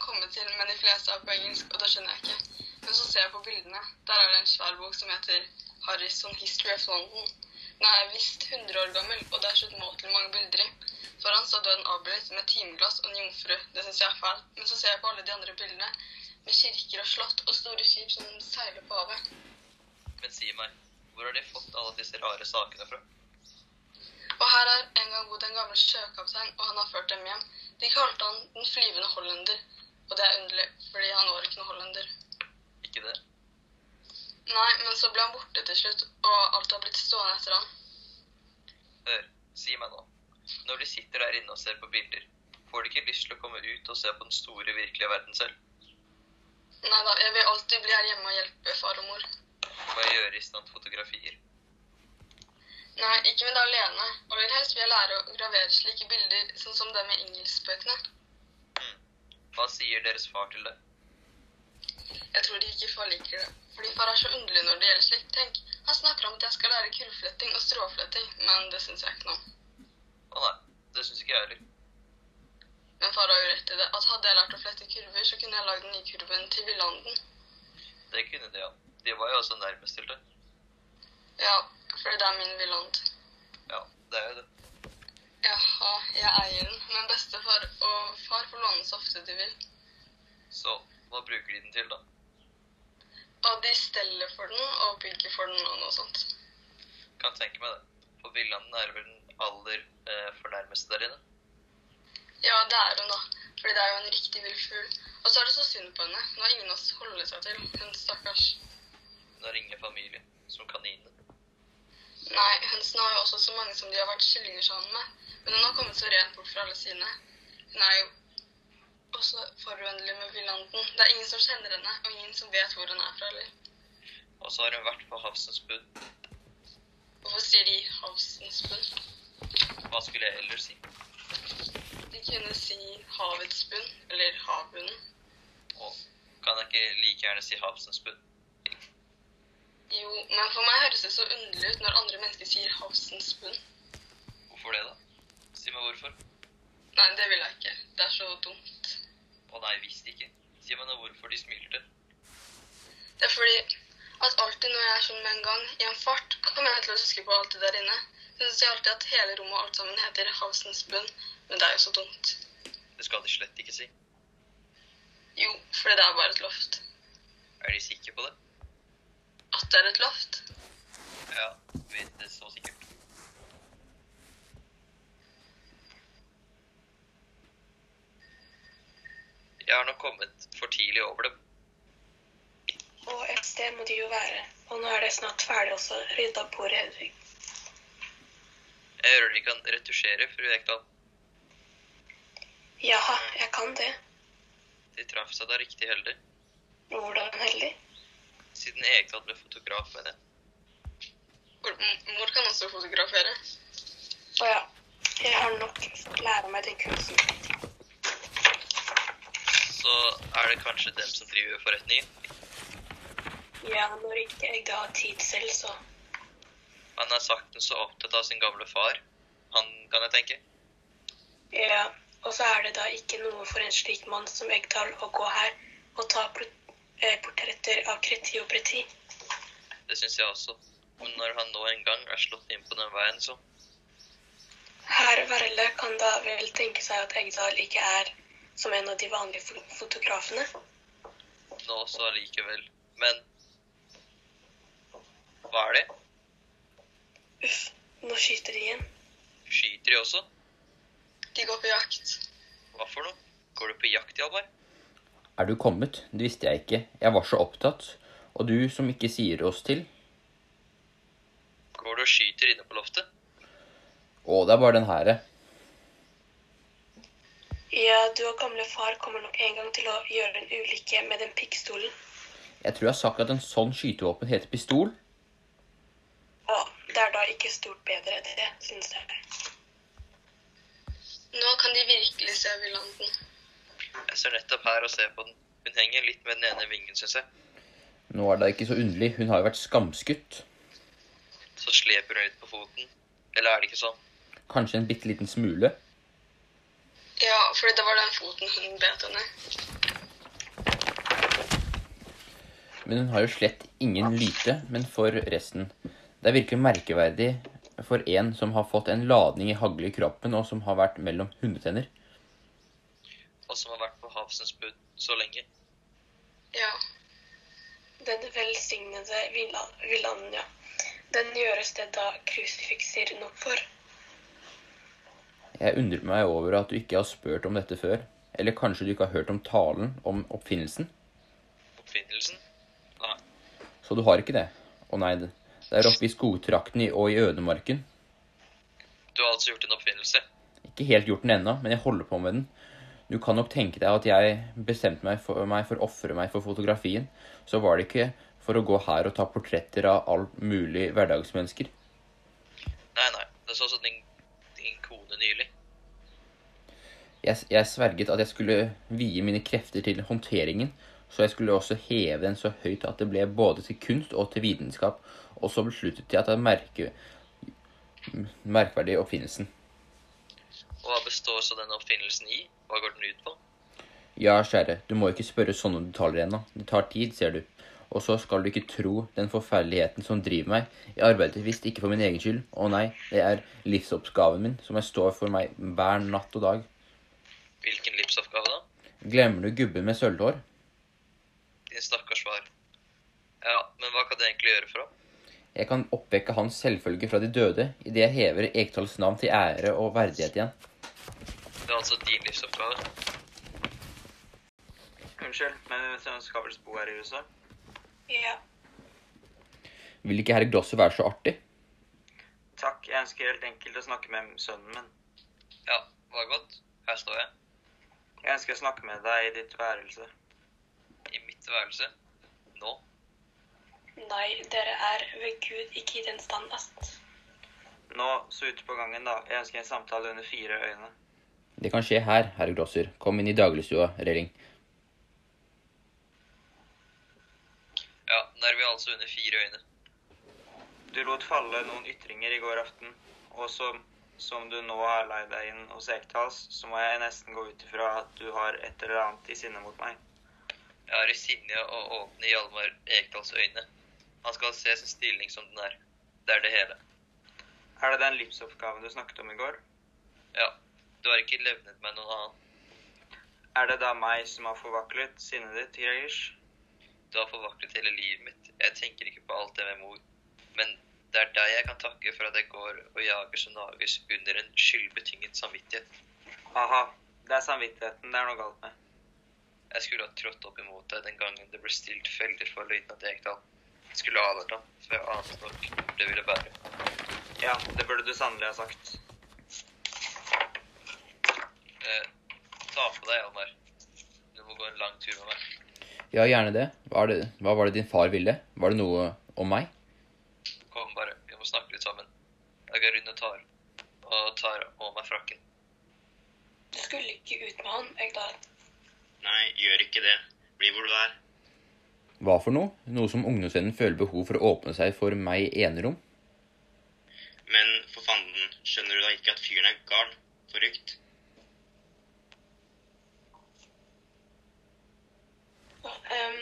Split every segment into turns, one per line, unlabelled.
kommet til, men de fleste er på engelsk, og det skjønner jeg ikke. Men så ser jeg på bildene. Der er det en svær bok som heter Harrison History of London. Den er visst 100 år gammel, og det er så umåtelig mange bilder i. Foran står døden avbildet med timeglass og en jomfru. Det syns jeg er fælt. Men så ser jeg på alle de andre bildene med kirker og slott og store skip som seiler på havet.
Men si meg, hvor har de fått alle disse rare sakene fra?
Og her er en gang bodd en gammel sjøkaptein, og han har ført dem hjem. De kalte han Den flyvende hollender, og det er underlig, fordi han var ikke noen hollender.
Ikke det?
Nei, men så ble han borte til slutt, og alt har blitt stående etter han.
Hør, si meg nå. Når de sitter der inne og ser på bilder, får de ikke lyst til å komme ut og se på den store, virkelige verden selv?
Nei da, jeg vil alltid bli her hjemme og hjelpe far og mor.
Hva gjøre i stand fotografier?
Nei, ikke med det alene, og vil helst vil jeg lære å gravere slike bilder, sånn som det med Ingels-bøkene.
Hm. Hva sier deres far til det?
Jeg tror de ikke forliker det, fordi far er så underlig når det gjelder slikt. Tenk, han snakker om at jeg skal lære kurvfletting og stråfletting, men det syns jeg ikke noe om.
Å nei, det syns ikke jeg heller.
Men far har jo rett i det, at hadde jeg lært å flette kurver, så kunne jeg lagd den nye kurven til Villanden.
Det kunne de, ja. De var jo også nærmest til det.
Ja, fordi det er min Villand.
Ja, det er jo det.
Jaha, jeg eier den, men bestefar og far får låne den så ofte de vil.
Så hva bruker de den til, da?
Og de steller for den og bygger for den og noe sånt.
Kan tenke meg det. For Villanden er vel den aller eh, fornærmeste der inne.
Ja, det er hun, da. Fordi det er jo en riktig vill fugl. Og så er det så synd på henne. Nå har ingen av oss holder seg til. Hun stakkars.
Hun har ingen familie, som kaninene.
Nei, hønsene har jo også så mange som de har vært kyllinger sammen med. Men hun har kommet så rent bort fra alle sine. Hun er jo også forvennlig med villanden. Det er ingen som kjenner henne, og ingen som vet hvor hun er fra heller.
Og så har hun vært på havsens bunn.
Hvorfor sier de havsens bunn?
Hva skulle jeg ellers si?
De kunne si havets bunn, eller havbunnen.
Og kan jeg ikke like gjerne si havsens bunn?
Jo, men for meg høres det så underlig ut når andre mennesker sier havsens bunn.
Hvorfor det, da? Si meg hvorfor.
Nei, det vil jeg ikke. Det er så dumt.
Å nei, visst ikke. Si meg nå hvorfor de smilte.
Det er fordi at alltid når jeg er sånn med en gang, i en fart, kommer jeg til å huske på alt det der inne. Hun sier alltid at hele rommet og alt sammen heter havsens bunn, men det er jo så dumt.
Det skal de slett ikke si.
Jo, fordi det er bare et loft.
Er de sikre på det?
At det er et loft?
Ja, vet det så sikkert. Jeg har nå kommet for tidlig over dem.
Og et sted må de jo være. Og nå er det snart ferdig også. Rydd av bordet, Hedvig.
Jeg hører de kan retusjere, fru Ekdal.
Jaha, jeg kan det.
De traff seg da riktig heldig.
Hvordan heldig?
Siden Ekdal ble fotograf, mener jeg.
Hvor- m- Mor kan også fotografere.
Å ja. Jeg har nok fått lære meg den kunsten.
Så er det kanskje dem som driver forretningen.
Ja, når ikke jeg har tid selv, så.
Han er sakten så opptatt av sin gamle far. Han, kan jeg tenke.
Ja. Og så er det da ikke noe for en slik mann som Egdal å gå her og ta port eh, portretter av kreti og preti.
Det syns jeg også. Men når han nå en gang er slått inn på den veien, så
Herr Verle kan da vel tenke seg at Egdal ikke er som en av de vanlige fo- fotografene?
nå også allikevel. Men hva er det?
Uff, nå skyter de igjen.
Skyter de også?
De går på jakt.
Hva for noe? Går du på jakt, Hjalmar?
Er du kommet? Det visste jeg ikke. Jeg var så opptatt. Og du som ikke sier oss til.
Går du og skyter inne på loftet?
Å, det er bare den her.
Ja, du og gamle far kommer nok en gang til å gjøre en ulykke med den pikkstolen.
Jeg tror jeg har sagt at en sånn skytevåpen heter pistol.
Og det er da ikke stort bedre, det syns jeg.
Nå kan de virkelig se villanden.
Jeg står nettopp her og ser på den. Hun henger litt med den ene vingen, syns jeg.
Nå er det ikke så underlig. Hun har jo vært skamskutt.
Så sleper hun litt på foten. Eller er det ikke sånn?
Kanskje en bitte liten smule.
Ja, fordi det var den foten hun bet henne.
men hun har jo slett ingen lyte, men for resten. Det er virkelig merkeverdig for en som har fått en ladning i hagle i kroppen, og som har vært mellom hundetenner.
og som har vært på Havsens bud så lenge.
Ja.
Den velsignede villan- Villanja. Den gjøres det da krusifikser nok for.
Jeg undrer meg over at du ikke har spurt om dette før. Eller kanskje du ikke har hørt om talen om oppfinnelsen?
Oppfinnelsen? Nei.
Så du har ikke det? Å nei, det det er oppe i skogtrakten i- og i ødemarken.
Du har altså gjort en oppfinnelse.
Ikke helt gjort den ennå, men jeg holder på med den. Du kan nok tenke deg at jeg bestemte meg for, meg for å ofre meg for fotografien. Så var det ikke for å gå her og ta portretter av alt mulig hverdagsmennesker.
Nei, nei. Det så også din, din kone nylig.
Jeg, jeg sverget at jeg skulle vie mine krefter til håndteringen, så jeg skulle også heve den så høyt at det ble både til kunst og til vitenskap, og så besluttet jeg at det er merke, merkverdig oppfinnelsen.
Og hva består så denne oppfinnelsen i? Hva går den ut på?
Ja, kjære, du må ikke spørre sånne detaljer ennå. Det tar tid, ser du. Og så skal du ikke tro den forferdeligheten som driver meg. Jeg arbeider visst ikke for min egen skyld. Å nei, det er livsoppgaven min som jeg står for meg hver natt og dag.
Hvilken livsoppgave, da?
Glemmer du gubben med sølvhår?
Din stakkars far. Ja, men hva kan du egentlig gjøre for ham?
Jeg kan oppvekke hans selvfølge fra de døde idet jeg hever Ekdals navn til ære og verdighet igjen.
Det er altså din livsoppgave.
Unnskyld, men hun skal vel bo her i huset?
Ja.
Vil ikke herr Grosser være så artig?
Takk, jeg ønsker helt enkelt å snakke med sønnen min.
Ja, hva godt. Her står jeg.
Jeg ønsker å snakke med deg i ditt værelse.
I mitt værelse. Nå.
Nei, dere er ved Gud ikke i den stand ast.
Nå, så ute på gangen da. Jeg ønsker en samtale under fire øyne.
Det kan skje her, herr Grosser. Kom inn i dagligstua, Relling.
Ja, nå er vi altså under fire øyne.
Du lot falle noen ytringer i går aften, og som, som du nå har leid deg inn hos Ekdals, så må jeg nesten gå ut ifra at du har et eller annet i sinne mot meg.
Jeg har i sinne å åpne Hjalmar Ekdals øyne. Han skal se sin stilling som den er. Det er det hele.
Er det den livsoppgaven du snakket om i går?
Ja, du har ikke levnet meg noen annen.
Er det da meg som har forvaklet sinnet ditt, Gregish?
Du har forvaklet hele livet mitt. Jeg tenker ikke på alt det med mor. Men det er deg jeg kan takke for at jeg går og jager som nages under en skyldbetynget samvittighet.
Aha, det er samvittigheten det er noe galt med.
Jeg skulle ha trådt opp imot deg den gangen det ble stilt feller for løytnant Ekdal. Jeg skulle ha advart ham, for jeg ante nok hvor det ville bære.
Ja, det burde du sannelig ha sagt.
Eh, ta på deg, Hjalmar. Du må gå en lang tur med meg.
Ja, gjerne det. Hva, er det. Hva var det din far ville? Var det noe om meg?
Kom bare, vi må snakke litt sammen. Jeg går rundt og tar, og tar av meg frakken.
Du skulle ikke ut med han, Egdal.
Nei, gjør ikke det. Bli hvor du er.
Hva for noe? Noe som ungdomsvennen føler behov for å åpne seg for meg i enerom?
Men for fanden, skjønner du da ikke at fyren er gal? Forrykt?
Ehm,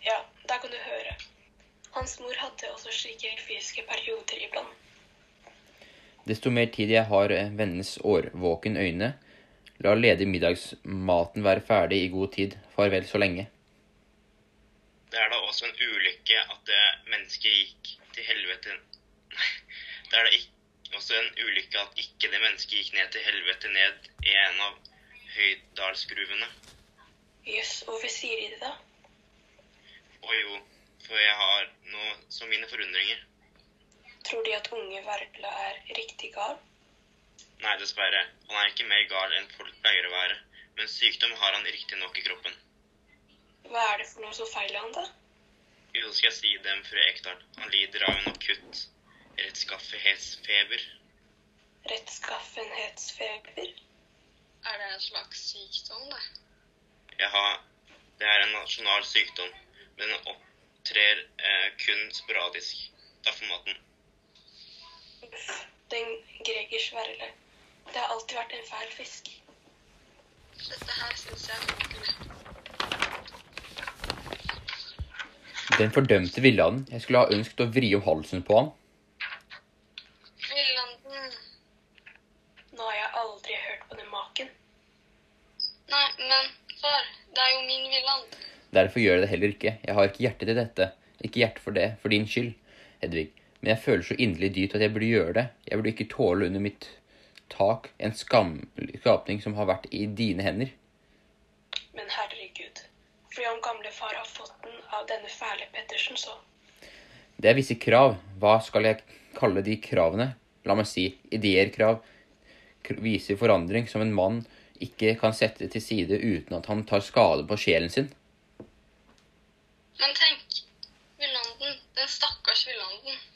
ja, der kan du høre. Hans mor hadde også slike fysiske perioder iblant.
Desto mer tid jeg har eh, vennenes årvåken øyne, la ledig middagsmaten være ferdig i god tid, farvel så lenge.
Det er da også en ulykke at det mennesket gikk til helvete Nei, det er da ikk- også en ulykke at ikke det mennesket gikk ned til helvete ned i en av Høydalsgruvene.
Jøss, hvorfor sier de det da?
Å jo, for jeg har noe som mine forundringer.
Tror de at unge Verpla er riktig gal?
Nei, dessverre. Han er ikke mer gal enn folk pleier å være. Men sykdom har han riktignok i kroppen.
Hva er det for noe som feiler han da?
Jo, skal jeg si dem, fru Ekdal. Han lider av en akutt rettskaffenhetsfeber.
Rettskaffenhetsfeber?
Er det en slags sykdom, det?
Jeg har, det er en nasjonal sykdom, men den opptrer eh, kun sporadisk. Takk for maten.
Uff, den Gregers verle. Det har alltid vært en fæl fisk.
Dette her syns jeg er vanskelig.
Den fordømte villanden. Jeg skulle ha ønsket å vri om halsen på han.
Villanden.
Nå har jeg aldri hørt på den maken.
Nei, men far, det er jo min villand.
Derfor gjør jeg det heller ikke. Jeg har ikke hjerte til dette. Ikke hjerte for det, for din skyld, Hedvig. Men jeg føler så inderlig dypt at jeg burde gjøre det. Jeg burde ikke tåle under mitt tak en skam skapning som har vært i dine hender.
Men herregud, fordi om gamle far har fått den av denne fæle Pettersen, så
Det er visse krav. Hva skal jeg kalle de kravene? La meg si ideer, krav. Kr- Viser forandring som en mann ikke kan sette til side uten at han tar skade på sjelen sin.
Men tenk, villanden, den stakkars villanden.